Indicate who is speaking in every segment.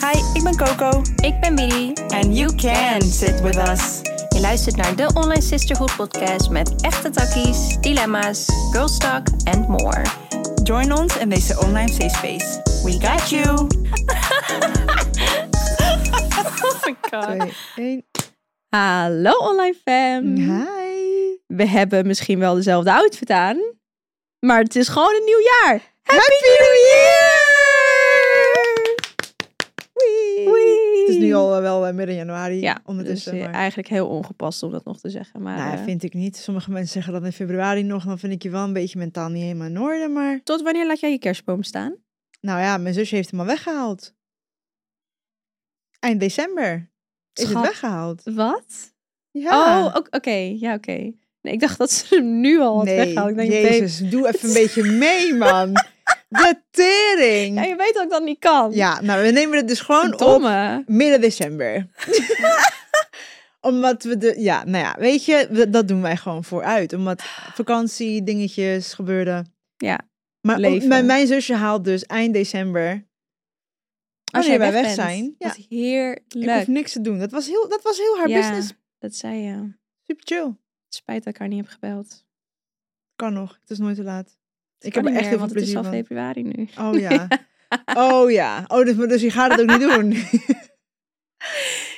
Speaker 1: Hi, ik ben Coco.
Speaker 2: Ik ben Miri.
Speaker 1: And you can sit with us.
Speaker 2: Je luistert naar de Online Sisterhood podcast met echte takkies, dilemma's, girl talk and more.
Speaker 1: Join ons in deze online safe space. We got you.
Speaker 2: Oh my god.
Speaker 3: Twee, één.
Speaker 4: Hallo online fam.
Speaker 3: Hi.
Speaker 4: We hebben misschien wel dezelfde outfit aan, maar het is gewoon een nieuw jaar. Happy, New Year!
Speaker 3: Wee.
Speaker 4: Wee.
Speaker 3: Het is nu al eh, wel eh, midden januari
Speaker 4: ja,
Speaker 3: ondertussen.
Speaker 4: dus, eh,
Speaker 3: maar,
Speaker 4: eigenlijk heel ongepast om dat nog te zeggen, maar
Speaker 3: nou,
Speaker 4: eh,
Speaker 3: vind ik niet. Sommige mensen zeggen dat in februari nog. Dan vind ik je wel een beetje mentaal niet helemaal in orde. Maar
Speaker 4: tot wanneer laat jij je kerstboom staan?
Speaker 3: nou ja, mijn zusje heeft hem al weggehaald. Eind december is
Speaker 4: Schat.
Speaker 3: het weggehaald.
Speaker 4: Wat?
Speaker 3: Ja.
Speaker 4: Oh, ook- oké, ja, oké. Nee, ik dacht dat ze hem nu al had weggehaald. Ik denk, babe,
Speaker 3: Jezus, doe even een beetje mee, man. De tering.
Speaker 4: ja,
Speaker 3: Ja,
Speaker 4: je weet dat ik dat niet kan.
Speaker 3: nou, we nemen het dus gewoon op
Speaker 4: Domme.
Speaker 3: midden december. Omdat we de, ja, nou ja, weet je, we- dat doen wij gewoon vooruit. Omdat vakantie, dingetjes gebeurden.
Speaker 4: Ja,
Speaker 3: Maar om-
Speaker 4: leven.
Speaker 3: mijn, mijn zusje haalt dus eind december.
Speaker 4: Als
Speaker 3: Wanneer
Speaker 4: jij
Speaker 3: wij
Speaker 4: weg,
Speaker 3: weg
Speaker 4: bent.
Speaker 3: zijn, ja.
Speaker 4: Wat heerlijk.
Speaker 3: Ik hoef niks te doen. Dat was heel, dat was heel haar
Speaker 4: Ja,
Speaker 3: business.
Speaker 4: Dat zei je.
Speaker 3: Super chill.
Speaker 4: Spijt dat ik haar niet heb gebeld.
Speaker 3: Kan nog. Het is nooit te laat. Ik
Speaker 4: Kan
Speaker 3: heb er
Speaker 4: niet
Speaker 3: echt
Speaker 4: meer,
Speaker 3: heel veel
Speaker 4: want het is
Speaker 3: plezier
Speaker 4: al
Speaker 3: van.
Speaker 4: februari nu.
Speaker 3: Oh ja. Oh ja. Oh, dus, dus je gaat het ook niet doen.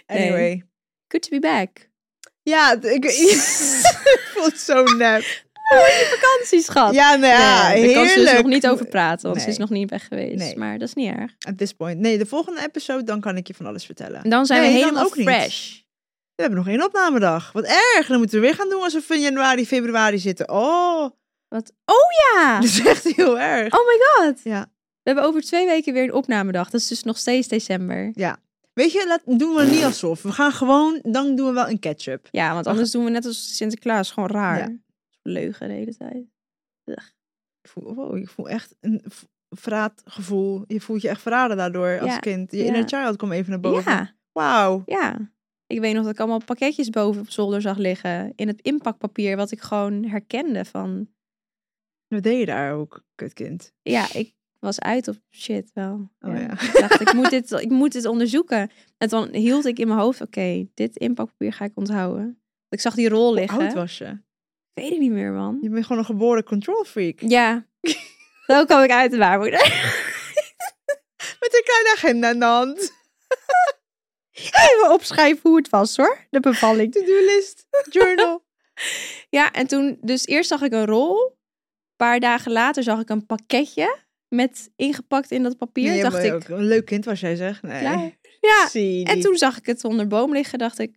Speaker 3: anyway.
Speaker 4: Good to be back.
Speaker 3: Ja, het- ik, ik voel het zo nep.
Speaker 4: Oh, Vakantie, schat.
Speaker 3: Ja, nou ja,
Speaker 4: Nee, daar kan ze dus
Speaker 3: heerlijk.
Speaker 4: nog niet over praten, want ze
Speaker 3: Nee.
Speaker 4: is nog niet weg geweest.
Speaker 3: Nee.
Speaker 4: Maar dat is niet erg.
Speaker 3: At this point. Nee, de volgende episode, dan kan ik je van alles vertellen.
Speaker 4: En dan zijn
Speaker 3: Nee,
Speaker 4: we
Speaker 3: dan
Speaker 4: helemaal
Speaker 3: ook niet.
Speaker 4: fresh.
Speaker 3: We hebben nog één opnamedag. Wat erg. Dan moeten we weer gaan doen alsof we in januari, februari zitten. Oh,
Speaker 4: Wat? Oh ja!
Speaker 3: dat is echt heel erg.
Speaker 4: Oh my god!
Speaker 3: Ja.
Speaker 4: We hebben over twee weken weer een opnamedag. Dat is dus nog steeds december.
Speaker 3: Weet je, laat, doen we niet alsof. We gaan gewoon, dan doen we wel een catch-up.
Speaker 4: Ja, want anders doen we net als Sinterklaas. Gewoon raar. Leugen de hele tijd.
Speaker 3: Ik voel, wow, ik voel echt een v- verraadgevoel. Je voelt je echt verraden daardoor als
Speaker 4: Ja,
Speaker 3: kind. Je
Speaker 4: ja.
Speaker 3: inner child komt even naar boven.
Speaker 4: Ja,
Speaker 3: Wauw.
Speaker 4: ja. Ik weet nog dat ik allemaal pakketjes boven op zolder zag liggen. In het inpakpapier, wat ik gewoon herkende van...
Speaker 3: Wat deed je daar ook, kutkind?
Speaker 4: ja, ik was uit op shit wel.
Speaker 3: Oh ja.
Speaker 4: Ik dacht, ik moet, dit, ik moet dit onderzoeken. En dan hield ik in mijn hoofd, oké, dit inpakpapier ga ik onthouden. Ik zag die rol
Speaker 3: Hoe oud
Speaker 4: liggen.
Speaker 3: was je?
Speaker 4: Ik weet het niet meer, man.
Speaker 3: Je bent gewoon een geboren control freak.
Speaker 4: Ja. Zo kwam ik uit de baarmoeder.
Speaker 3: Met een kleine agenda in de hand.
Speaker 4: Even opschrijven hoe het was, hoor. De bevalling.
Speaker 3: To-do list, journal.
Speaker 4: Ja, en toen, dus eerst zag ik een rol. Een paar dagen later zag ik een pakketje met ingepakt in dat papier.
Speaker 3: Nee,
Speaker 4: dacht
Speaker 3: maar
Speaker 4: ik,
Speaker 3: ook Een leuk kind was jij, zeg. Nee.
Speaker 4: klaar. Ja,
Speaker 3: Zie
Speaker 4: en
Speaker 3: niet.
Speaker 4: toen zag ik het onder boom liggen, dacht ik,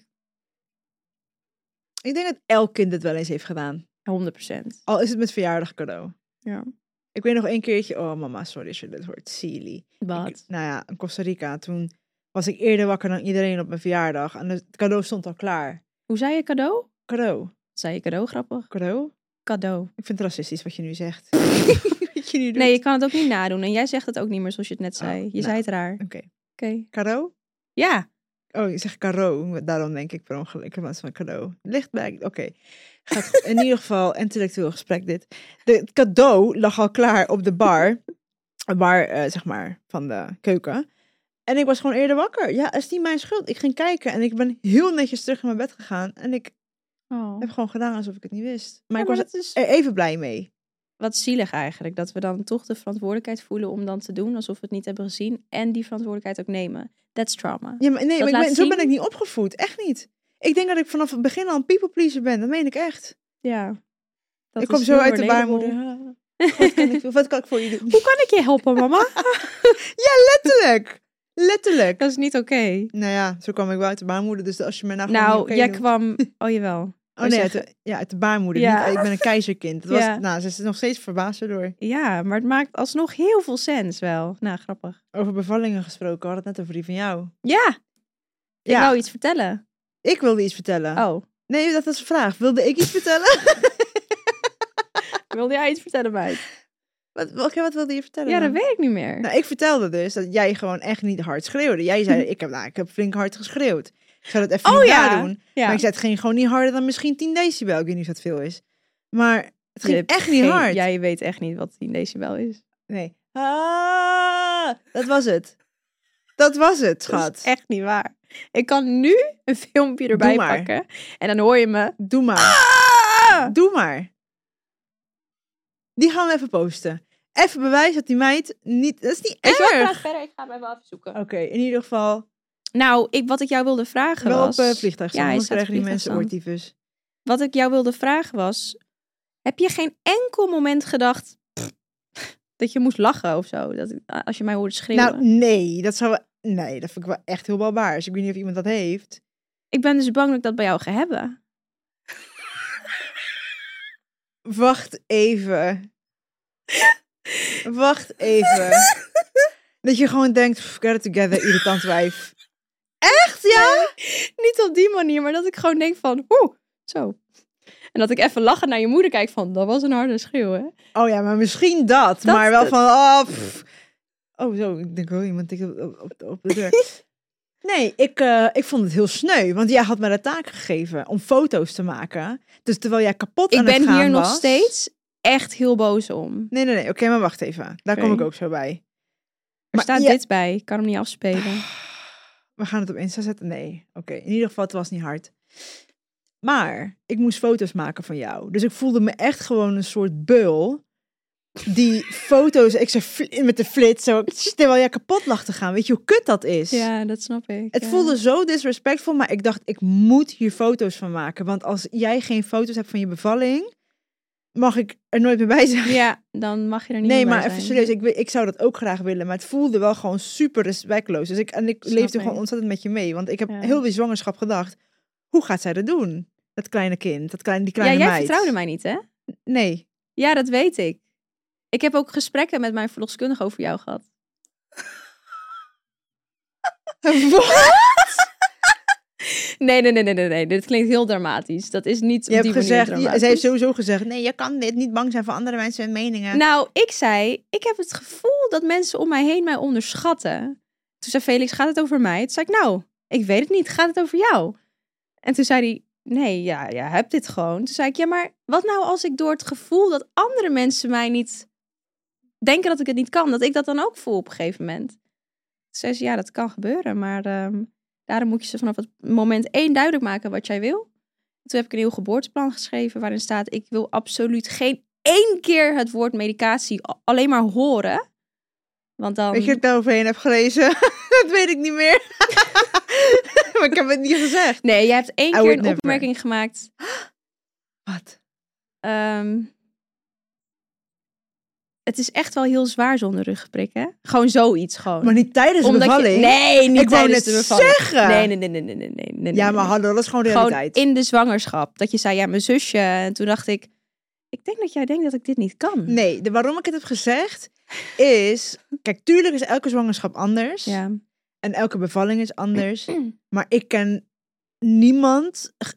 Speaker 3: Ik denk dat elk kind het wel eens heeft gedaan.
Speaker 4: 100%.
Speaker 3: Al is het met verjaardag cadeau.
Speaker 4: Ja.
Speaker 3: Ik weet nog één keertje. Oh, mama, sorry als je dit hoort. Silly.
Speaker 4: Wat?
Speaker 3: Nou ja, in Costa Rica. Toen was ik eerder wakker dan iedereen op mijn verjaardag. En het cadeau stond al klaar.
Speaker 4: Hoe zei je cadeau?
Speaker 3: Cadeau.
Speaker 4: Zei je cadeau grappig?
Speaker 3: Cadeau?
Speaker 4: Cadeau.
Speaker 3: Ik vind het racistisch wat je nu zegt. wat je nu doet.
Speaker 4: Nee, je kan het ook niet nadoen. En jij zegt het ook niet meer zoals je het net zei.
Speaker 3: Oh,
Speaker 4: je
Speaker 3: nou.
Speaker 4: zei het raar. Oké.
Speaker 3: Oké. Cadeau?
Speaker 4: Ja.
Speaker 3: Oh, ik zeg caro. Daarom denk ik per ongeluk in plaats van cadeau. Ligt bij. Oké. Gaat goed. In ieder geval, intellectueel gesprek dit. De, het cadeau lag al klaar op de bar. Een bar, eh, zeg maar, van de keuken. En ik was gewoon eerder wakker. Ja, is niet mijn schuld. Ik ging kijken en ik ben heel netjes terug naar mijn bed gegaan. En ik
Speaker 4: Oh.
Speaker 3: heb gewoon gedaan alsof ik het niet wist. Maar
Speaker 4: Maar
Speaker 3: ik was
Speaker 4: dat is
Speaker 3: er even blij mee.
Speaker 4: wat zielig eigenlijk. Dat we dan toch de verantwoordelijkheid voelen om dan te doen alsof we het niet hebben gezien. En die verantwoordelijkheid ook nemen. That's trauma.
Speaker 3: Ja, maar nee, maar ik
Speaker 4: laat
Speaker 3: ben- zo ben
Speaker 4: zien-
Speaker 3: ik niet opgevoed. Echt niet. Ik denk dat ik vanaf het begin al een people pleaser ben. Dat meen ik echt.
Speaker 4: Ja. Dat
Speaker 3: ik
Speaker 4: is
Speaker 3: kom zo
Speaker 4: heel
Speaker 3: uit de
Speaker 4: relatable.
Speaker 3: baarmoeder. Ah, Wat kan, ik, wat kan ik voor je doen?
Speaker 4: Hoe kan ik je helpen, mama?
Speaker 3: Letterlijk. Letterlijk.
Speaker 4: dat is niet oké.
Speaker 3: Nou ja, zo kwam ik wel uit de baarmoeder. Dus als je me nou gewoon niet
Speaker 4: Nou,
Speaker 3: oké
Speaker 4: jij
Speaker 3: noemt-
Speaker 4: kwam... Oh, jawel.
Speaker 3: Oh nee,
Speaker 4: je-
Speaker 3: uit de, ja, uit de baarmoeder.
Speaker 4: Ja.
Speaker 3: Niet, ik ben een keizerkind. Dat was,
Speaker 4: Ja.
Speaker 3: Nou, ze is er nog steeds verbaasd door.
Speaker 4: Ja, maar het maakt alsnog heel veel sens wel. Nou, grappig.
Speaker 3: Over bevallingen gesproken. We hadden het net over die van jou.
Speaker 4: Ja, ik
Speaker 3: Ja,
Speaker 4: wou iets vertellen.
Speaker 3: ik wilde iets vertellen.
Speaker 4: Oh.
Speaker 3: Nee, dat was een vraag. Wilde ik iets vertellen?
Speaker 4: Wilde jij iets vertellen, mij?
Speaker 3: wat, oké, wat wilde je vertellen?
Speaker 4: Ja, dat
Speaker 3: dan?
Speaker 4: weet ik niet meer.
Speaker 3: Nou, ik vertelde dus dat jij gewoon echt niet hard schreeuwde. Jij zei, ik heb, nou, ik heb flink hard geschreeuwd. Ik zou dat even
Speaker 4: Oh
Speaker 3: niet
Speaker 4: ja.
Speaker 3: nadoen.
Speaker 4: ja.
Speaker 3: Maar ik zei, het ging gewoon niet harder dan misschien 10 decibel. Ik weet niet of dat veel is. Maar het ging
Speaker 4: Je hebt
Speaker 3: echt niet
Speaker 4: geen-
Speaker 3: hard.
Speaker 4: Ja, je weet echt niet wat 10 decibel is.
Speaker 3: Nee. Ah, dat was het. Dat was het,
Speaker 4: Dat
Speaker 3: schat.
Speaker 4: is echt niet waar. Ik kan nu een filmpje erbij
Speaker 3: maar.
Speaker 4: pakken. En dan hoor je me.
Speaker 3: Doe maar.
Speaker 4: Ah!
Speaker 3: Doe maar. Die gaan we even posten. Even bewijs dat die meid niet... Dat is niet
Speaker 4: Weet je wat, nou-
Speaker 3: erg.
Speaker 4: praat verder. Ik ga hem even afzoeken.
Speaker 3: Oké, in ieder geval.
Speaker 4: Nou, ik, wat ik jou wilde vragen
Speaker 3: Wel op
Speaker 4: was...
Speaker 3: eh, vliegtuig
Speaker 4: Ja,
Speaker 3: staan.
Speaker 4: hij
Speaker 3: anders
Speaker 4: staat op
Speaker 3: krijgen die mensen
Speaker 4: vliegtuigstand.
Speaker 3: oortyfus.
Speaker 4: Wat ik jou wilde vragen was... Heb je geen enkel moment gedacht... pff, dat je moest lachen of zo? Dat, als je mij hoorde schreeuwen.
Speaker 3: Nou, nee. Dat zou... wel- Nee, dat vind ik wel echt heel balbaars. Ik weet niet of iemand dat heeft.
Speaker 4: ik ben dus bang dat ik dat bij jou ga hebben.
Speaker 3: Wacht even. Wacht even. dat je gewoon denkt, "Pff, get it together, irritant wijf. Echt, ja?
Speaker 4: Niet op die manier, maar dat ik gewoon denk van... Oeh, zo. En dat ik even lachen naar je moeder kijk van... Dat was een harde schreeuw, hè?
Speaker 3: Oh ja, maar misschien dat.
Speaker 4: Dat-
Speaker 3: maar wel
Speaker 4: dat-
Speaker 3: van, oh, pff. oh zo, ik denk, oh, iemand tikt op, op, op- op de deur. Nee, ik, eh, ik vond het heel sneu. Want jij had mij de taak gegeven om foto's te maken. Dus terwijl jij kapot
Speaker 4: Ik
Speaker 3: aan het
Speaker 4: ben
Speaker 3: gaan
Speaker 4: hier nog
Speaker 3: was-
Speaker 4: steeds echt heel boos om.
Speaker 3: Nee, nee, nee. Oké, maar wacht even. Daar kom ik
Speaker 4: Oké.
Speaker 3: ook zo bij.
Speaker 4: Er
Speaker 3: Maar
Speaker 4: staat
Speaker 3: ja-
Speaker 4: dit bij. Ik kan hem niet afspelen.
Speaker 3: We gaan het op Insta zetten? Nee. Oké, in ieder geval, het was niet hard. Maar ik moest foto's maken van jou. Dus ik voelde me echt gewoon een soort beul. Die foto's, ik zei fl- met de flits, zo, terwijl jij kapot lag te gaan. Weet je hoe kut dat is?
Speaker 4: Ja, dat snap ik.
Speaker 3: Het
Speaker 4: ja.
Speaker 3: voelde zo disrespectful, maar ik dacht, ik moet hier foto's van maken. Want als jij geen foto's hebt van je bevalling, mag ik er nooit meer bij zijn.
Speaker 4: Ja, dan mag je er niet
Speaker 3: Nee,
Speaker 4: meer bij
Speaker 3: maar even
Speaker 4: zijn.
Speaker 3: serieus, ik, wi- ik zou dat ook graag willen, maar het voelde wel gewoon super respectloos. Dus ik, en ik
Speaker 4: Snap
Speaker 3: leefde
Speaker 4: ik.
Speaker 3: gewoon ontzettend met je mee, want ik heb
Speaker 4: Ja.
Speaker 3: heel die zwangerschap gedacht, hoe gaat zij dat doen? Dat kleine kind, dat kleine, die
Speaker 4: Ja,
Speaker 3: kleine
Speaker 4: jij
Speaker 3: meid.
Speaker 4: vertrouwde mij niet, hè?
Speaker 3: Nee,
Speaker 4: Ja, dat weet ik. Ik heb ook gesprekken met mijn verloskundige over jou gehad. Nee, nee, nee, nee, nee, nee. Dit klinkt heel dramatisch. Dat is niet
Speaker 3: je
Speaker 4: op
Speaker 3: hebt
Speaker 4: die manier
Speaker 3: gezegd, je-
Speaker 4: dramatisch.
Speaker 3: zij heeft sowieso gezegd, nee, je kan dit niet bang zijn voor andere mensen en meningen.
Speaker 4: Nou, ik zei, ik heb het gevoel dat mensen om mij heen mij onderschatten. Toen zei Felix, gaat het over mij? Toen zei ik, nou, ik weet het niet. Gaat het over jou? En toen zei hij, nee, ja, ja, heb dit gewoon. Toen zei ik, ja, maar wat nou als ik door het gevoel dat andere mensen mij niet denken dat ik het niet kan, dat ik dat dan ook voel op een gegeven moment? Toen zei ze, ja, dat kan gebeuren, maar ehm, daarom moet je ze vanaf het moment één duidelijk maken wat jij wil. Toen heb ik een heel geboorteplan geschreven waarin staat, ik wil absoluut geen één keer het woord medicatie a- alleen maar horen. Want dan...
Speaker 3: Weet je wat ik daaroverheen heb gelezen? dat weet ik niet meer. maar ik heb het niet gezegd.
Speaker 4: Nee, jij hebt één keer
Speaker 3: would
Speaker 4: een
Speaker 3: never.
Speaker 4: opmerking gemaakt.
Speaker 3: Wat?
Speaker 4: ehm, het is echt wel heel zwaar zonder ruggenprik, hè? Gewoon zoiets, gewoon.
Speaker 3: Maar niet tijdens de bevalling.
Speaker 4: Je, nee, niet
Speaker 3: ik wou
Speaker 4: tijdens
Speaker 3: het
Speaker 4: de bevalling.
Speaker 3: zeggen.
Speaker 4: Nee, nee, nee, nee, nee, nee, nee, nee.
Speaker 3: ja, maar
Speaker 4: nee, nee.
Speaker 3: hallo, dat is gewoon
Speaker 4: Gewoon
Speaker 3: realiteit.
Speaker 4: in de zwangerschap. Dat je zei, ja, mijn zusje. En toen dacht ik, ik denk dat jij denkt dat ik dit niet kan.
Speaker 3: Nee, de, waarom ik het heb gezegd is... Kijk, tuurlijk is elke zwangerschap anders.
Speaker 4: Ja.
Speaker 3: En elke bevalling is anders. maar ik ken niemand g-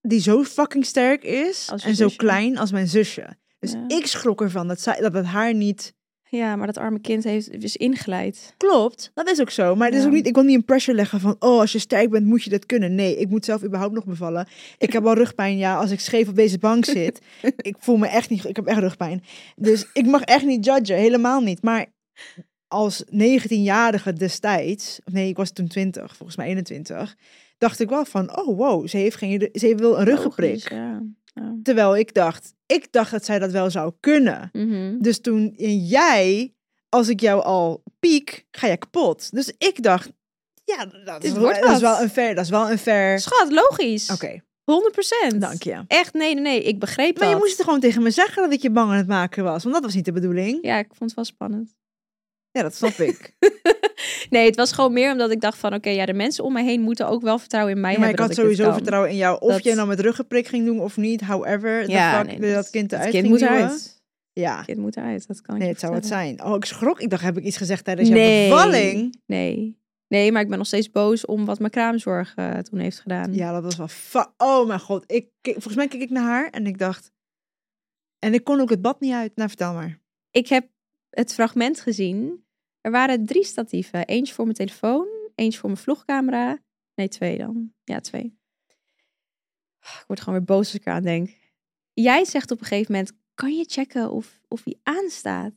Speaker 3: die zo fucking sterk is
Speaker 4: Als je
Speaker 3: en zo
Speaker 4: zusje.
Speaker 3: klein als mijn zusje. Dus
Speaker 4: Ja.
Speaker 3: ik schrok ervan dat, zij, dat het haar niet
Speaker 4: ja, maar dat arme kind heeft, is ingeleid.
Speaker 3: klopt. Dat is ook zo. Maar het is
Speaker 4: Ja.
Speaker 3: ook niet, ik wil niet een pressure leggen van... oh, als je sterk bent, moet je dat kunnen. Nee, ik moet zelf überhaupt nog bevallen. Ik heb al rugpijn, ja, als ik scheef op deze bank zit. ik voel me echt niet... go- Ik heb echt rugpijn. Dus ik mag echt niet judgen, helemaal niet. Maar als 19-jarige destijds... of Nee, ik was toen 20, volgens mij 21... dacht ik wel van, oh wow, ze, heeft geen, ze wil een
Speaker 4: Logisch,
Speaker 3: ruggenprik.
Speaker 4: ja. ja.
Speaker 3: Terwijl ik dacht, ik dacht dat zij dat wel zou kunnen.
Speaker 4: Mhm.
Speaker 3: Dus toen en jij, als ik jou al piek, ga jij kapot. Dus ik dacht, ja, dat, is,
Speaker 4: Dit wordt
Speaker 3: dat is
Speaker 4: wat.
Speaker 3: wel een fair. Dat is wel een fair.
Speaker 4: Schat, logisch.
Speaker 3: Oké,
Speaker 4: 100%.
Speaker 3: dank je.
Speaker 4: Echt, nee, nee, nee. Ik begreep
Speaker 3: Maar je
Speaker 4: dat.
Speaker 3: moest het gewoon tegen me zeggen dat ik je bang aan het maken was. Want dat was niet de bedoeling.
Speaker 4: Ja, ik vond het wel spannend.
Speaker 3: Ja, dat snap ik.
Speaker 4: Nee, het was gewoon meer omdat ik dacht van... Oké, ja, de mensen om me heen moeten ook wel vertrouwen in mij
Speaker 3: maar ik
Speaker 4: hebben
Speaker 3: had
Speaker 4: dat dit
Speaker 3: sowieso
Speaker 4: kan.
Speaker 3: vertrouwen in jou. Of
Speaker 4: Dat-
Speaker 3: je nou met ruggenprik ging doen of niet. However,
Speaker 4: Ja,
Speaker 3: ja,
Speaker 4: nee,
Speaker 3: dat, kind
Speaker 4: het
Speaker 3: eruit
Speaker 4: kind
Speaker 3: ging
Speaker 4: moet
Speaker 3: duwen.
Speaker 4: eruit.
Speaker 3: Ja,
Speaker 4: Het kind moet eruit, dat kan ik
Speaker 3: nee,
Speaker 4: je
Speaker 3: het zou het
Speaker 4: vertellen.
Speaker 3: zijn. Oh, ik schrok. Ik dacht, heb ik iets gezegd tijdens jouw
Speaker 4: Nee.
Speaker 3: bevalling?
Speaker 4: Nee. nee, maar ik ben nog steeds boos om wat mijn kraamzorg eh, toen heeft gedaan.
Speaker 3: Ja, dat was wel. fa- oh mijn god. Ik, keek- volgens mij keek ik naar haar en ik dacht. En ik kon ook het bad niet uit. Nou, vertel maar.
Speaker 4: Ik heb het fragment gezien. Er waren drie statieven. Eentje voor mijn telefoon, eentje voor mijn vlogcamera. Nee, twee dan. Ja, twee. Ik word gewoon weer boos als ik eraan denk. Jij zegt op een gegeven moment, kan je checken of, of hij aanstaat?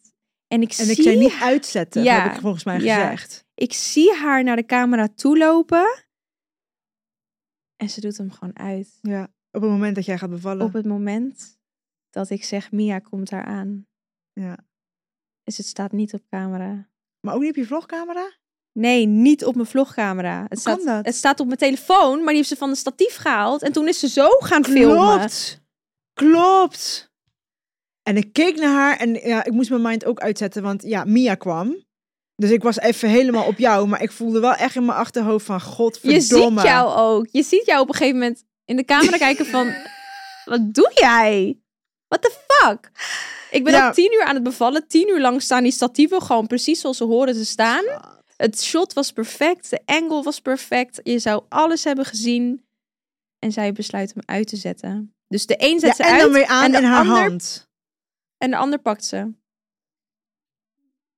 Speaker 4: En ik
Speaker 3: En
Speaker 4: zie...
Speaker 3: ik zei niet uitzetten.
Speaker 4: Ja,
Speaker 3: Heb ik volgens mij
Speaker 4: ja.
Speaker 3: gezegd.
Speaker 4: Ik zie haar naar de camera toe lopen. En ze doet hem gewoon uit.
Speaker 3: Ja, op het moment dat jij gaat bevallen.
Speaker 4: Op het moment dat ik zeg, Mia komt daar aan.
Speaker 3: Ja.
Speaker 4: Dus het staat niet op camera.
Speaker 3: Maar ook niet op je vlogcamera?
Speaker 4: Nee, niet op mijn vlogcamera. Het staat,
Speaker 3: kan dat?
Speaker 4: het staat op mijn telefoon, maar die heeft ze van de statief gehaald. En toen is ze zo gaan filmen.
Speaker 3: Klopt. Klopt. En ik keek naar haar en ja, ik moest mijn mind ook uitzetten, want ja, Mia kwam. Dus ik was even helemaal op jou, maar ik voelde wel echt in mijn achterhoofd van godverdomme.
Speaker 4: Je ziet jou ook. Je ziet jou op een gegeven moment in de camera kijken van... Wat doe jij? What the fuck? Ik ben
Speaker 3: Ja.
Speaker 4: al tien uur aan het bevallen. Tien uur lang staan die statieven gewoon precies zoals ze horen te staan. Het shot was perfect. De angle was perfect. Je zou alles hebben gezien. En zij besluit hem uit te zetten. Dus de een
Speaker 3: Ja,
Speaker 4: zet ze
Speaker 3: en
Speaker 4: uit
Speaker 3: dan weer aan
Speaker 4: en de
Speaker 3: in haar
Speaker 4: ander-
Speaker 3: hand.
Speaker 4: en de ander pakt ze.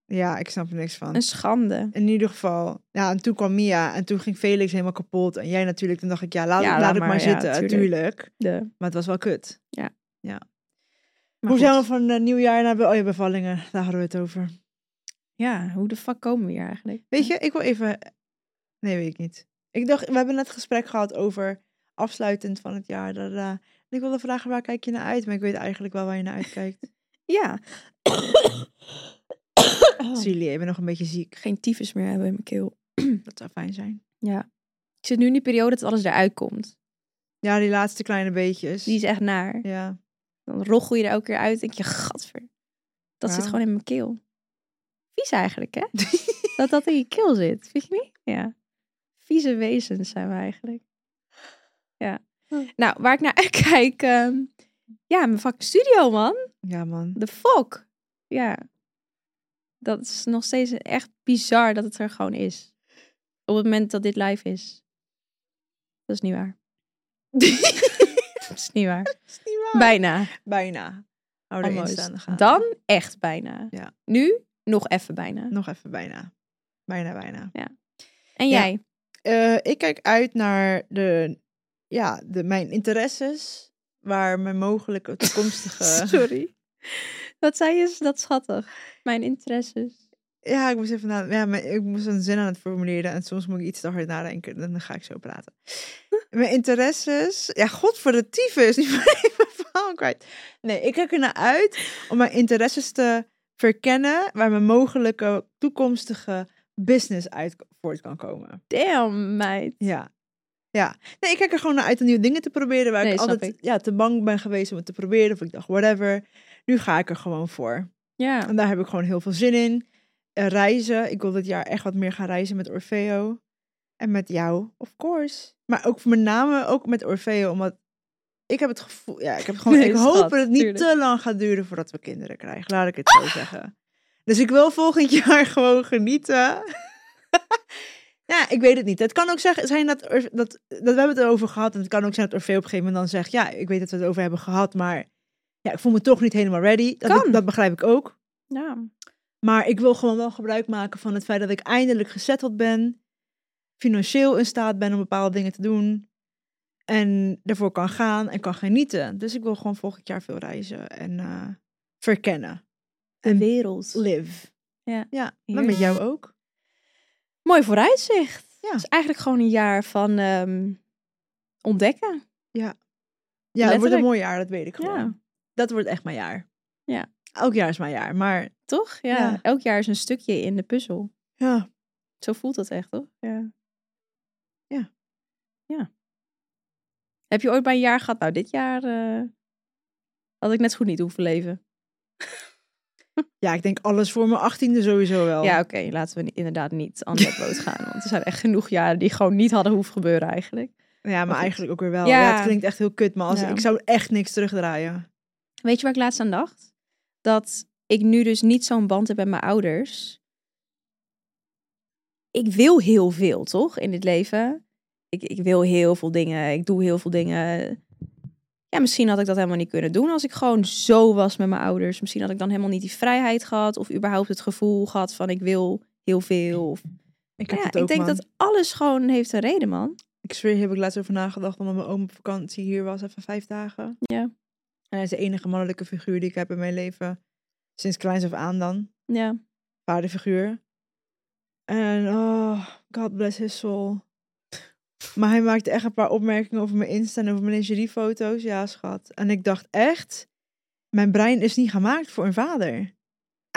Speaker 3: Ja, ik snap er niks van.
Speaker 4: Een schande.
Speaker 3: In ieder geval, ja, en toen kwam Mia en toen ging Felix helemaal kapot. En jij natuurlijk, toen dacht ik, ja, laat,
Speaker 4: Ja,
Speaker 3: laat,
Speaker 4: laat
Speaker 3: het maar,
Speaker 4: maar, ja,
Speaker 3: zitten,
Speaker 4: tuurlijk.
Speaker 3: tuurlijk.
Speaker 4: De,
Speaker 3: Maar het was wel kut.
Speaker 4: Ja.
Speaker 3: ja. Hoe
Speaker 4: Maar goed.
Speaker 3: zijn we van eh, nieuwjaar naar be- oh, ja, bevallingen? Daar hadden we het over.
Speaker 4: Ja, hoe de fuck komen we hier eigenlijk?
Speaker 3: Weet je, ik wil even... Nee, weet ik niet. Ik dacht, we hebben net een gesprek gehad over afsluitend van het jaar. da, da, da. En ik wilde vragen, waar kijk je naar uit? Maar ik weet eigenlijk wel waar je naar uitkijkt.
Speaker 4: Ja. Oh.
Speaker 3: Silly, ik ben nog een beetje ziek.
Speaker 4: Geen tyfus meer hebben in mijn keel.
Speaker 3: Dat zou fijn zijn.
Speaker 4: Ik zit nu in die periode dat alles eruit komt.
Speaker 3: Ja, die laatste kleine beetjes.
Speaker 4: Die is echt naar.
Speaker 3: Ja.
Speaker 4: Dan roggel je er elke keer uit. Denk je, gadver. Dat
Speaker 3: Ja.
Speaker 4: zit gewoon in mijn keel. Vies eigenlijk, hè? dat dat in je keel zit. Vind je niet? Ja. Vieze wezens zijn we eigenlijk. Ja. Nou, waar ik naar uitkijk. ehm, ja, mijn fucking studio, man.
Speaker 3: Ja, man.
Speaker 4: De fok. Ja. Dat is nog steeds echt bizar dat het er gewoon is. Op het moment dat dit live is. Dat is niet waar. dat is niet waar.
Speaker 3: is niet waar.
Speaker 4: Bijna.
Speaker 3: Bijna. Hou erin
Speaker 4: Almost.
Speaker 3: staan, dan gaan.
Speaker 4: Dan echt bijna.
Speaker 3: Ja.
Speaker 4: Nu nog even bijna.
Speaker 3: Nog even bijna. Bijna, bijna. Ja.
Speaker 4: En jij?
Speaker 3: Eh, ik kijk uit naar de, ja, de, mijn interesses. Waar mijn mogelijke toekomstige...
Speaker 4: Sorry. Wat zei je? Is dat schattig? Mijn interesses.
Speaker 3: ja, ik moest even na, ja, mijn- ik moest een zin aan het formuleren. En soms moet ik iets te hard nadenken. En dan ga ik zo praten. mijn interesses... Ja, god voor de tyfus. Nu ben ik mijn verhaal kwijt. Nee, ik kijk er naar uit om mijn interesses te verkennen. Waar mijn mogelijke toekomstige business uit voort kan komen.
Speaker 4: Damn, meid.
Speaker 3: Ja. Ja. Nee, ik kijk er gewoon naar uit om nieuwe dingen te proberen. Waar
Speaker 4: Nee,
Speaker 3: ik
Speaker 4: snap
Speaker 3: altijd Ja, te bang ben geweest om het te proberen. Of ik dacht, whatever. Nu ga ik er gewoon voor.
Speaker 4: Ja.
Speaker 3: En daar heb ik gewoon heel veel zin in. Eh, reizen. Ik wil dit jaar echt wat meer gaan reizen met Orfeo. En met jou, of course. Maar ook met name ook met Orfeo. Omdat ik heb het gevoel... Ja, ik heb gewoon...
Speaker 4: Nee,
Speaker 3: ik
Speaker 4: schat,
Speaker 3: hoop dat het niet
Speaker 4: tuurlijk. Ah!
Speaker 3: te lang gaat duren voordat we kinderen krijgen. Laat ik het zo zeggen. Dus ik wil volgend jaar gewoon genieten. Ja, ik weet het niet. Het kan ook zeg- zijn dat, Orf- dat, dat we hebben het erover gehad. En het kan ook zijn dat Orfeo op een gegeven moment dan zegt... Ja, ik weet dat we het over hebben gehad, maar... Ja, ik voel me toch niet helemaal ready. Dat,
Speaker 4: Kan.
Speaker 3: dat begrijp ik ook.
Speaker 4: Ja.
Speaker 3: Maar ik wil gewoon wel gebruik maken van het feit dat ik eindelijk gezetteld ben. Financieel in staat ben om bepaalde dingen te doen. En ervoor kan gaan en kan genieten. Dus ik wil gewoon volgend jaar veel reizen en eh, verkennen.
Speaker 4: De wereld.
Speaker 3: Live.
Speaker 4: Ja.
Speaker 3: ja maar
Speaker 4: Heerlijk.
Speaker 3: met jou ook.
Speaker 4: Mooi vooruitzicht.
Speaker 3: Ja.
Speaker 4: Het is eigenlijk gewoon een jaar van ehm, ontdekken.
Speaker 3: Ja, het wordt
Speaker 4: Letterlijk.
Speaker 3: een mooi jaar, dat weet ik gewoon.
Speaker 4: Ja.
Speaker 3: Dat wordt echt mijn jaar.
Speaker 4: Ja.
Speaker 3: Elk jaar is mijn jaar, maar
Speaker 4: Toch? Ja.
Speaker 3: Ja.
Speaker 4: Elk jaar is een stukje in de puzzel.
Speaker 3: ja.
Speaker 4: Zo voelt dat echt, toch? Ja.
Speaker 3: Ja.
Speaker 4: Ja. Heb je ooit bij een jaar gehad? Nou, dit jaar eh, had ik net zo goed niet hoeven leven.
Speaker 3: ja, ik denk alles voor mijn achttiende sowieso wel.
Speaker 4: Ja, oké. laten we ni- inderdaad niet aan dat boot gaan. Want er zijn echt genoeg jaren die gewoon niet hadden hoeven gebeuren eigenlijk.
Speaker 3: ja
Speaker 4: goed.
Speaker 3: maar eigenlijk ook weer wel.
Speaker 4: Ja.
Speaker 3: Ja. het klinkt echt heel kut, maar als,
Speaker 4: Ja.
Speaker 3: ik zou echt niks terugdraaien.
Speaker 4: Weet je waar ik laatst aan dacht? Dat ik nu dus niet zo'n band heb met mijn ouders. Ik wil heel veel, toch? In dit leven. Ik, ik wil heel veel dingen. Ik doe heel veel dingen. Ja, misschien had ik dat helemaal niet kunnen doen als ik gewoon zo was met mijn ouders. Misschien had ik dan helemaal niet die vrijheid gehad. Of überhaupt het gevoel gehad van ik wil heel veel. Of,
Speaker 3: Ik heb
Speaker 4: ja,
Speaker 3: dat
Speaker 4: ik
Speaker 3: ook,
Speaker 4: denk
Speaker 3: man.
Speaker 4: dat alles gewoon heeft een reden, man.
Speaker 3: Ik zweer, hier heb ik laatst over nagedacht. Omdat mijn oom op vakantie hier was, even vijf dagen.
Speaker 4: Ja.
Speaker 3: En hij is de enige mannelijke figuur die ik heb in mijn leven. Sinds kleins af aan dan.
Speaker 4: Ja,
Speaker 3: Vaderfiguur. En oh, God bless his soul. Maar hij maakte echt een paar opmerkingen over mijn Insta en over mijn lingeriefoto's. Ja, schat. En ik dacht echt, mijn brein is niet gemaakt voor een vader.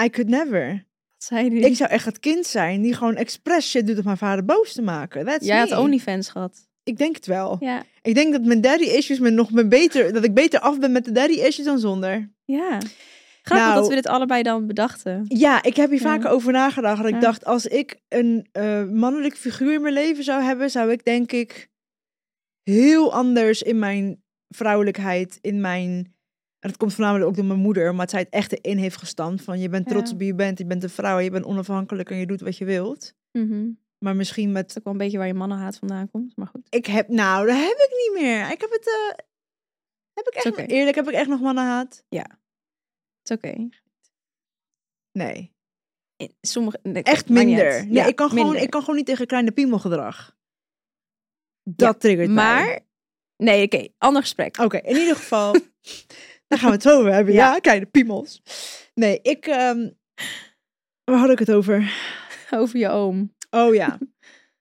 Speaker 3: I could never.
Speaker 4: Wat zei die?
Speaker 3: Ik zou echt het kind zijn die gewoon expres shit doet om haar vader boos te maken. That's
Speaker 4: Jij
Speaker 3: me.
Speaker 4: had OnlyFans gehad.
Speaker 3: Ik denk het wel.
Speaker 4: Ja.
Speaker 3: Ik denk dat mijn daddy issues me nog me beter, dat ik beter af ben met de daddy issues dan zonder.
Speaker 4: Ja. Grappig
Speaker 3: Nou-
Speaker 4: dat we dit allebei dan bedachten.
Speaker 3: Ja, ik heb hier
Speaker 4: Ja.
Speaker 3: vaker over nagedacht. en Ik
Speaker 4: Ja.
Speaker 3: dacht, als ik een eh, mannelijk figuur in mijn leven zou hebben, zou ik denk ik heel anders in mijn vrouwelijkheid, in mijn. En dat komt voornamelijk ook door mijn moeder, maar het zij het echt erin heeft gestampt van je bent trots
Speaker 4: Ja.
Speaker 3: op wie je bent, je bent een vrouw, je bent onafhankelijk en je doet wat je wilt.
Speaker 4: Mhm. Dat
Speaker 3: Maar misschien met
Speaker 4: is ook wel een beetje waar je mannenhaat vandaan komt. Maar goed.
Speaker 3: ik heb, nou, dat heb ik niet meer. Ik heb het, eh, heb ik echt,
Speaker 4: oké.
Speaker 3: eerlijk, heb ik echt nog mannenhaat?
Speaker 4: Het is oké.
Speaker 3: Nee.
Speaker 4: In Sommige, nee,
Speaker 3: Echt
Speaker 4: maakt niet
Speaker 3: minder.
Speaker 4: uit.
Speaker 3: Nee,
Speaker 4: Ja,
Speaker 3: ik, kan Gewoon,
Speaker 4: minder.
Speaker 3: ik kan gewoon niet tegen kleine piemelgedrag. Dat triggert mij.
Speaker 4: Maar, nee, oké, ander gesprek.
Speaker 3: Oké, in ieder geval. daar gaan we het over hebben. Ja,
Speaker 4: Ja.
Speaker 3: kleine piemels. Nee, ik... ehm, waar had ik het over?
Speaker 4: Over je oom.
Speaker 3: Oh ja.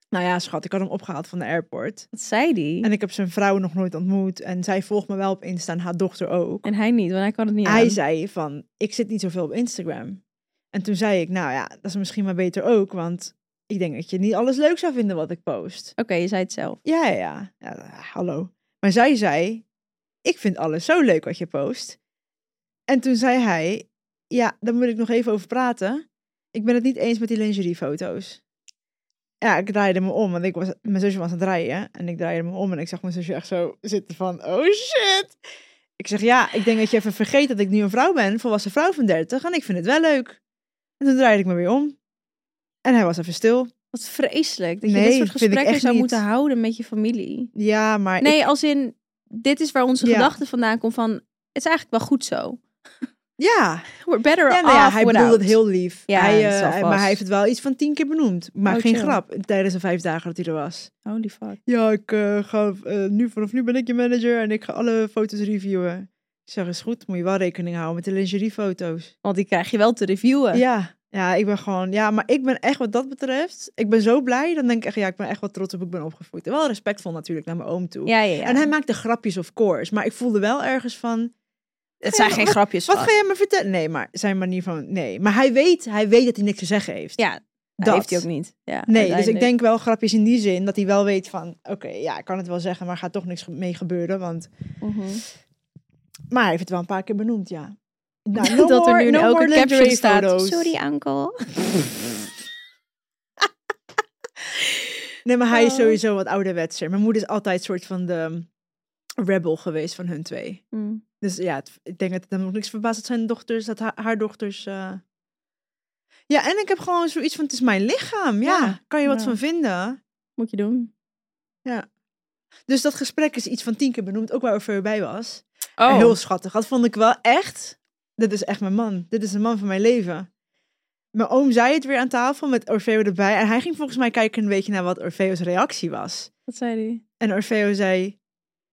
Speaker 3: nou ja, schat, ik had hem opgehaald van de airport.
Speaker 4: Wat zei die?
Speaker 3: En ik heb zijn vrouw nog nooit ontmoet. En zij volgt me wel op Insta en haar dochter ook.
Speaker 4: En hij niet, want hij kan het niet
Speaker 3: Hij
Speaker 4: aan.
Speaker 3: zei van, ik zit niet zoveel op Instagram. En toen zei ik, nou ja, dat is misschien maar beter ook. Want ik denk dat je niet alles leuk zou vinden wat ik post.
Speaker 4: Oké, je zei het zelf.
Speaker 3: Ja, ja, ja. Ja, eh, hallo. Maar zij zei, ik vind alles zo leuk wat je post. En toen zei hij, ja, daar moet ik nog even over praten. Ik ben het niet eens met die lingeriefoto's. Ja, ik draaide me om, want ik was, mijn zusje was aan het rijden. En ik draaide me om en ik zag mijn zusje echt zo zitten van, oh shit. Ik zeg, ja, ik denk dat je even vergeet dat ik nu een vrouw ben, een volwassen vrouw van 30. En ik vind het wel leuk. En toen draaide ik me weer om. En hij was even stil.
Speaker 4: Wat vreselijk. Dat je
Speaker 3: Nee,
Speaker 4: dit soort
Speaker 3: vind ik echt
Speaker 4: gesprekken zou
Speaker 3: niet.
Speaker 4: moeten houden met je familie.
Speaker 3: Ja, maar
Speaker 4: Nee, als in, dit is waar onze
Speaker 3: Ja.
Speaker 4: gedachte vandaan komt van, het is eigenlijk wel goed zo.
Speaker 3: ja,
Speaker 4: We're better
Speaker 3: Ja,
Speaker 4: off
Speaker 3: nou ja, hij bedoelde
Speaker 4: without.
Speaker 3: het heel lief.
Speaker 4: Ja,
Speaker 3: hij,
Speaker 4: dat
Speaker 3: eh,
Speaker 4: zal
Speaker 3: hij- maar
Speaker 4: vast.
Speaker 3: hij heeft het wel iets van tien keer benoemd. Maar
Speaker 4: Oh,
Speaker 3: geen
Speaker 4: chill.
Speaker 3: grap, tijdens de vijf dagen dat hij er was.
Speaker 4: Holy fuck.
Speaker 3: Ja, ik eh, ga eh, nu, vanaf nu ben ik je manager en ik ga alle foto's reviewen. Ik zeg, is goed, moet je wel rekening houden met de lingeriefoto's.
Speaker 4: Want die krijg je wel te reviewen.
Speaker 3: Ja, ja, ik ben gewoon, ja, maar ik ben echt wat dat betreft, ik ben zo blij. Dan denk ik echt, ja, ik ben echt wel trots op hoe ik ben opgevoed. Wel respectvol natuurlijk naar mijn oom toe.
Speaker 4: ja, ja. ja.
Speaker 3: En hij maakte grapjes, of course. Maar ik voelde wel ergens van,
Speaker 4: het zijn
Speaker 3: Ja,
Speaker 4: geen grapjes.
Speaker 3: wat
Speaker 4: schat.
Speaker 3: ga jij me vertellen? Nee, maar zijn manier van, nee. Maar hij weet, hij weet dat hij niks te zeggen heeft.
Speaker 4: Ja, dat, Nou, heeft hij ook niet. Ja,
Speaker 3: Nee, dus ik
Speaker 4: uiteindelijk.
Speaker 3: denk wel grapjes in die zin dat hij wel weet van, oké, ja, ik kan het wel zeggen, maar er gaat toch niks ge- mee gebeuren, want.
Speaker 4: Mhm.
Speaker 3: Maar hij heeft het wel een paar keer benoemd, ja. Nou,
Speaker 4: dat er nu in
Speaker 3: no
Speaker 4: elke
Speaker 3: more
Speaker 4: caption
Speaker 3: lingerie
Speaker 4: staat.
Speaker 3: photos.
Speaker 4: Sorry, uncle.
Speaker 3: Nee, maar hij is
Speaker 4: Oh.
Speaker 3: sowieso wat ouderwetser. Mijn moeder is altijd soort van de um, rebel geweest van hun twee.
Speaker 4: Mm.
Speaker 3: Dus ja, het- ik denk dat het hem nog niks verbaast dat zijn dochters, dat haar, haar dochters. eh, Ja, en ik heb gewoon zoiets van, het is mijn lichaam, ja,
Speaker 4: Ja,
Speaker 3: kan je wat
Speaker 4: ja.
Speaker 3: van vinden.
Speaker 4: Moet je doen.
Speaker 3: Dus dat gesprek is iets van tien keer benoemd, ook waar je bij was.
Speaker 4: Oh,
Speaker 3: Heel schattig. Dat vond ik wel echt. Dit is echt mijn man. Dit is de man van mijn leven. Mijn oom zei het weer aan tafel met Orfeo erbij. En hij ging volgens mij kijken een beetje naar wat Orfeo's reactie was.
Speaker 4: wat zei hij?
Speaker 3: En Orfeo zei...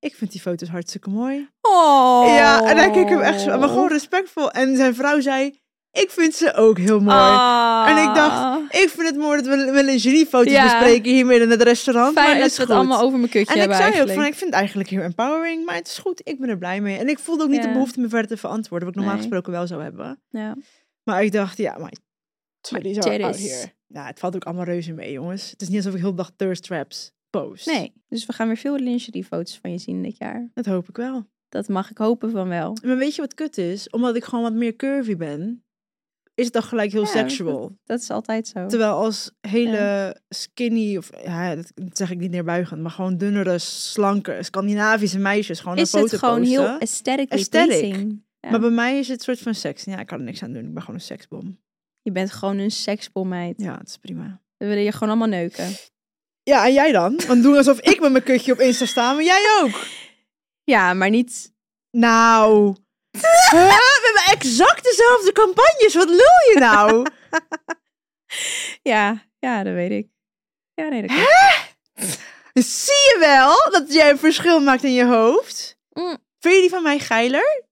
Speaker 3: Ik vind die foto's hartstikke mooi.
Speaker 4: Oh.
Speaker 3: Ja, en hij keek hem echt zo... Maar gewoon respectvol. En zijn vrouw zei... Ik vind ze ook heel mooi.
Speaker 4: Ah.
Speaker 3: En ik dacht, Ik vind het mooi dat we wel lingeriefoto's
Speaker 4: Ja.
Speaker 3: bespreken hiermee in het restaurant. maar
Speaker 4: fijn dat
Speaker 3: is
Speaker 4: ze het
Speaker 3: goed.
Speaker 4: allemaal over mijn kutje
Speaker 3: En ik
Speaker 4: hebben
Speaker 3: zei ook
Speaker 4: eigenlijk.
Speaker 3: van, ik vind het eigenlijk heel empowering, maar het is goed, ik ben er blij mee. En ik voelde ook niet de
Speaker 4: Ja.
Speaker 3: behoefte me verder te verantwoorden, wat ik normaal
Speaker 4: Nee.
Speaker 3: gesproken wel zou hebben.
Speaker 4: Ja.
Speaker 3: Maar ik dacht, ja, maar titties are out
Speaker 4: titties.
Speaker 3: here. Nou, het valt ook allemaal reuze mee, jongens. Het is niet alsof ik heel de dag thirst traps post.
Speaker 4: Nee, dus we gaan weer veel lingeriefoto's van je zien dit jaar.
Speaker 3: Dat hoop ik wel.
Speaker 4: Dat mag ik hopen van wel.
Speaker 3: Maar weet je wat kut is? Omdat ik gewoon wat meer curvy ben, is het dan gelijk heel
Speaker 4: Ja,
Speaker 3: sexual.
Speaker 4: Dat is altijd zo.
Speaker 3: Terwijl als hele skinny, of ja, dat zeg ik niet neerbuigend, maar gewoon dunnere, slanke, Scandinavische meisjes gewoon
Speaker 4: Is
Speaker 3: een
Speaker 4: het
Speaker 3: foto
Speaker 4: gewoon
Speaker 3: posten.
Speaker 4: heel aesthetically
Speaker 3: Aesthetic.
Speaker 4: pleasing. Ja.
Speaker 3: Maar bij mij is het soort van seks. Ja, ik kan er niks aan doen. Ik ben gewoon een seksbom.
Speaker 4: Je bent gewoon een seksbommeid.
Speaker 3: Ja, het is prima.
Speaker 4: We willen je gewoon allemaal neuken.
Speaker 3: Ja, en jij dan? Want doen alsof ik met mijn kutje op Insta sta, maar jij ook.
Speaker 4: Ja, maar niet...
Speaker 3: Nou. Huh? We hebben exact dezelfde campagnes. Wat lul je nou?
Speaker 4: Ja, ja, dat weet ik. Ja, nee, dat kan.
Speaker 3: Dus Zie je wel dat jij een verschil maakt in je hoofd?
Speaker 4: Mm.
Speaker 3: Vind je die van mij geiler?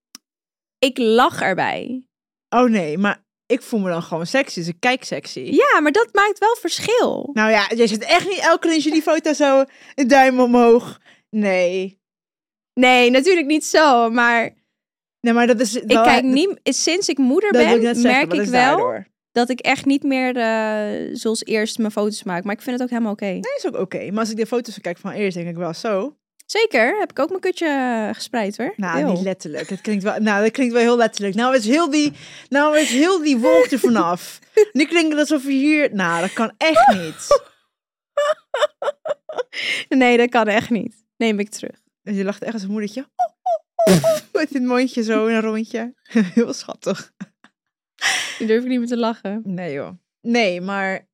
Speaker 4: Ik lach erbij.
Speaker 3: Oh nee, maar ik voel me dan gewoon sexy. Dus ik kijk sexy.
Speaker 4: Ja, maar dat maakt wel verschil.
Speaker 3: Nou ja, jij zit echt niet elke keer in die foto zo een duim omhoog. Nee.
Speaker 4: Nee, natuurlijk niet zo, maar
Speaker 3: Nee, maar dat is...
Speaker 4: ik kijk niet... Sinds ik moeder ben, merk ik wel
Speaker 3: Nee,
Speaker 4: dat ik echt niet meer eh, zoals eerst mijn foto's maak. Maar ik vind het ook helemaal oké.
Speaker 3: is ook oké. Maar als ik de foto's kijk van eerst, denk ik wel zo.
Speaker 4: Zeker, heb ik ook mijn kutje gespreid hoor.
Speaker 3: Nou,
Speaker 4: Eeuw.
Speaker 3: niet letterlijk. Dat klinkt wel, nou, dat klinkt wel heel letterlijk. Nou is heel die, nou is heel die wolk er vanaf. nu klinkt het alsof je hier... Nou, dat kan echt niet.
Speaker 4: Nee, dat kan echt niet. Neem ik terug.
Speaker 3: En je lacht echt als een moedertje. Met dit mondje zo in een rondje. heel schattig.
Speaker 4: Nu durf ik niet meer te lachen.
Speaker 3: Nee, joh. Nee, maar...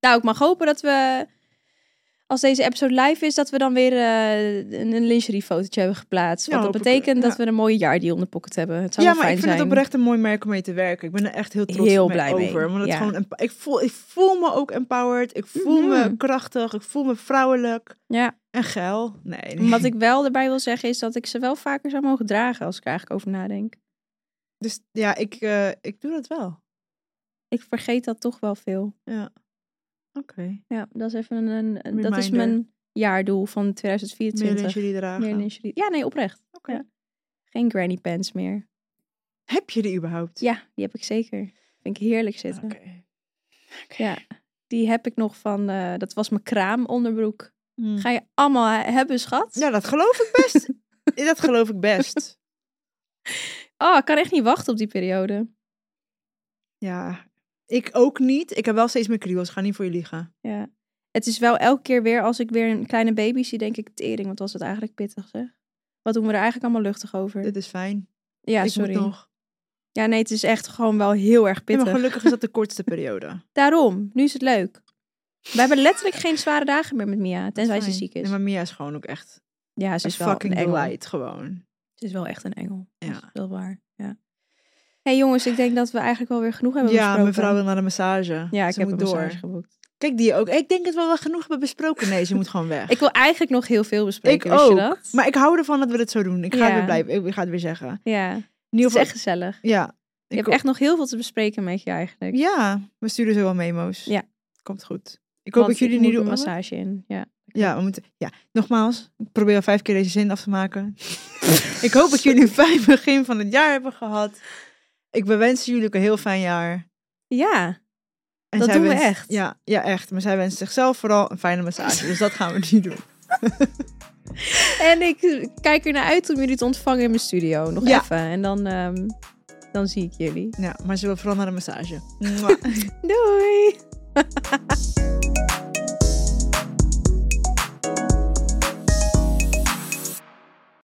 Speaker 4: Nou, ik mag hopen dat we, als deze episode live is, dat we dan weer eh, een, een lingerie fotootje hebben geplaatst.
Speaker 3: Ja,
Speaker 4: Want dat
Speaker 3: hoop ik,
Speaker 4: betekent
Speaker 3: ja.
Speaker 4: dat we een mooie jaardie onder pocket hebben. Het zou
Speaker 3: Ja,
Speaker 4: wel
Speaker 3: maar ik
Speaker 4: fijn
Speaker 3: vind
Speaker 4: zijn.
Speaker 3: het oprecht een mooi merk om mee te werken. Ik ben er echt heel trots
Speaker 4: Heel
Speaker 3: mee
Speaker 4: blij mee,
Speaker 3: over. want het
Speaker 4: ja.
Speaker 3: gewoon emp- ik, voel, ik voel me ook empowered. Ik voel
Speaker 4: Mhm.
Speaker 3: me krachtig. Ik voel me vrouwelijk.
Speaker 4: Ja.
Speaker 3: En geil. Nee, nee.
Speaker 4: Wat ik wel erbij wil zeggen is dat ik ze wel vaker zou mogen dragen als ik er eigenlijk over nadenk.
Speaker 3: Dus ja, ik, eh, ik doe dat wel.
Speaker 4: Ik vergeet dat toch wel veel.
Speaker 3: Oké.
Speaker 4: Ja, dat is even een, een- dat is
Speaker 3: Reminder.
Speaker 4: mijn jaardoel van
Speaker 3: Meer
Speaker 4: 2024.
Speaker 3: lingerie dragen.
Speaker 4: Meer lingerie. Ja, nee, oprecht.
Speaker 3: Oké.
Speaker 4: Ja. Geen granny pants meer.
Speaker 3: Heb je die überhaupt?
Speaker 4: Ja, die heb ik zeker. Vind ik heerlijk
Speaker 3: Oké.
Speaker 4: zitten. Ja, die heb ik nog van, eh, dat was mijn kraamonderbroek.
Speaker 3: Hmm.
Speaker 4: Ga je allemaal he- hebben, schat?
Speaker 3: Ja, Nou, dat geloof ik best. dat geloof ik best.
Speaker 4: Oh, ik kan echt niet wachten op die periode.
Speaker 3: Ja. Ik ook niet. Ik heb wel steeds meer kriebels. Ga niet voor je liegen.
Speaker 4: Ja. Het is wel elke keer weer, als ik weer een kleine baby zie, denk ik, tering, wat was het eigenlijk pittig, zeg. Wat doen we er eigenlijk allemaal luchtig over?
Speaker 3: Dit is fijn.
Speaker 4: Ja,
Speaker 3: ik
Speaker 4: sorry.
Speaker 3: Moet nog.
Speaker 4: Ja, nee, het is echt gewoon wel heel erg
Speaker 3: Ja,
Speaker 4: pittig.
Speaker 3: maar gelukkig is dat de kortste periode.
Speaker 4: Daarom, nu is het leuk. We hebben letterlijk geen zware dagen meer met Mia, tenzij ze
Speaker 3: Fijn.
Speaker 4: ziek
Speaker 3: Nee,
Speaker 4: is.
Speaker 3: maar Mia is gewoon ook echt
Speaker 4: Ja, ze
Speaker 3: is
Speaker 4: is wel
Speaker 3: fucking
Speaker 4: een engel.
Speaker 3: delight gewoon.
Speaker 4: Ze is wel echt een engel. Ja.
Speaker 3: Ja.
Speaker 4: Dat is wel waar, ja. hey, jongens, ik denk dat we eigenlijk wel weer genoeg hebben
Speaker 3: Ja,
Speaker 4: besproken.
Speaker 3: mevrouw wil naar de massage.
Speaker 4: Ja, ik
Speaker 3: Ze
Speaker 4: heb
Speaker 3: moet
Speaker 4: een
Speaker 3: door.
Speaker 4: massage geboekt.
Speaker 3: Kijk die ook. Ik denk dat we wel genoeg hebben besproken. Nee, ze moet gewoon weg.
Speaker 4: Ik wil eigenlijk nog heel veel bespreken.
Speaker 3: Ik
Speaker 4: wist
Speaker 3: ook,
Speaker 4: Je dat?
Speaker 3: Maar ik hou ervan dat we dit zo doen. Ik ga
Speaker 4: Ja.
Speaker 3: het weer blijven. Ik ga het weer zeggen. In
Speaker 4: ja,
Speaker 3: ieder
Speaker 4: het is
Speaker 3: geval-
Speaker 4: echt gezellig.
Speaker 3: Ja.
Speaker 4: Ik heb
Speaker 3: ho-
Speaker 4: echt nog heel veel te bespreken met je eigenlijk.
Speaker 3: Ja, we sturen zo wel memo's.
Speaker 4: Ja.
Speaker 3: Komt goed. Ik hoop
Speaker 4: Want
Speaker 3: dat jullie
Speaker 4: ik
Speaker 3: nu
Speaker 4: moet
Speaker 3: doen.
Speaker 4: een massage in. Ja.
Speaker 3: Ja, we moeten. Ja, nogmaals. Ik probeer al vijf keer deze zin af te maken. ik hoop dat jullie een fijn begin van het jaar hebben gehad. Ik bewens jullie ook een heel fijn jaar.
Speaker 4: ja,
Speaker 3: En
Speaker 4: Dat
Speaker 3: zij
Speaker 4: doen we
Speaker 3: wenst-
Speaker 4: echt.
Speaker 3: Ja, ja, echt. Maar zij wenst zichzelf vooral een fijne massage. Dus dat gaan we nu doen.
Speaker 4: en ik kijk er naar uit om jullie te ontvangen in mijn studio. Nog
Speaker 3: Ja.
Speaker 4: even. En dan, ehm, dan zie ik jullie.
Speaker 3: Ja, maar ze wil vooral naar de massage. Mwah.
Speaker 4: Doei!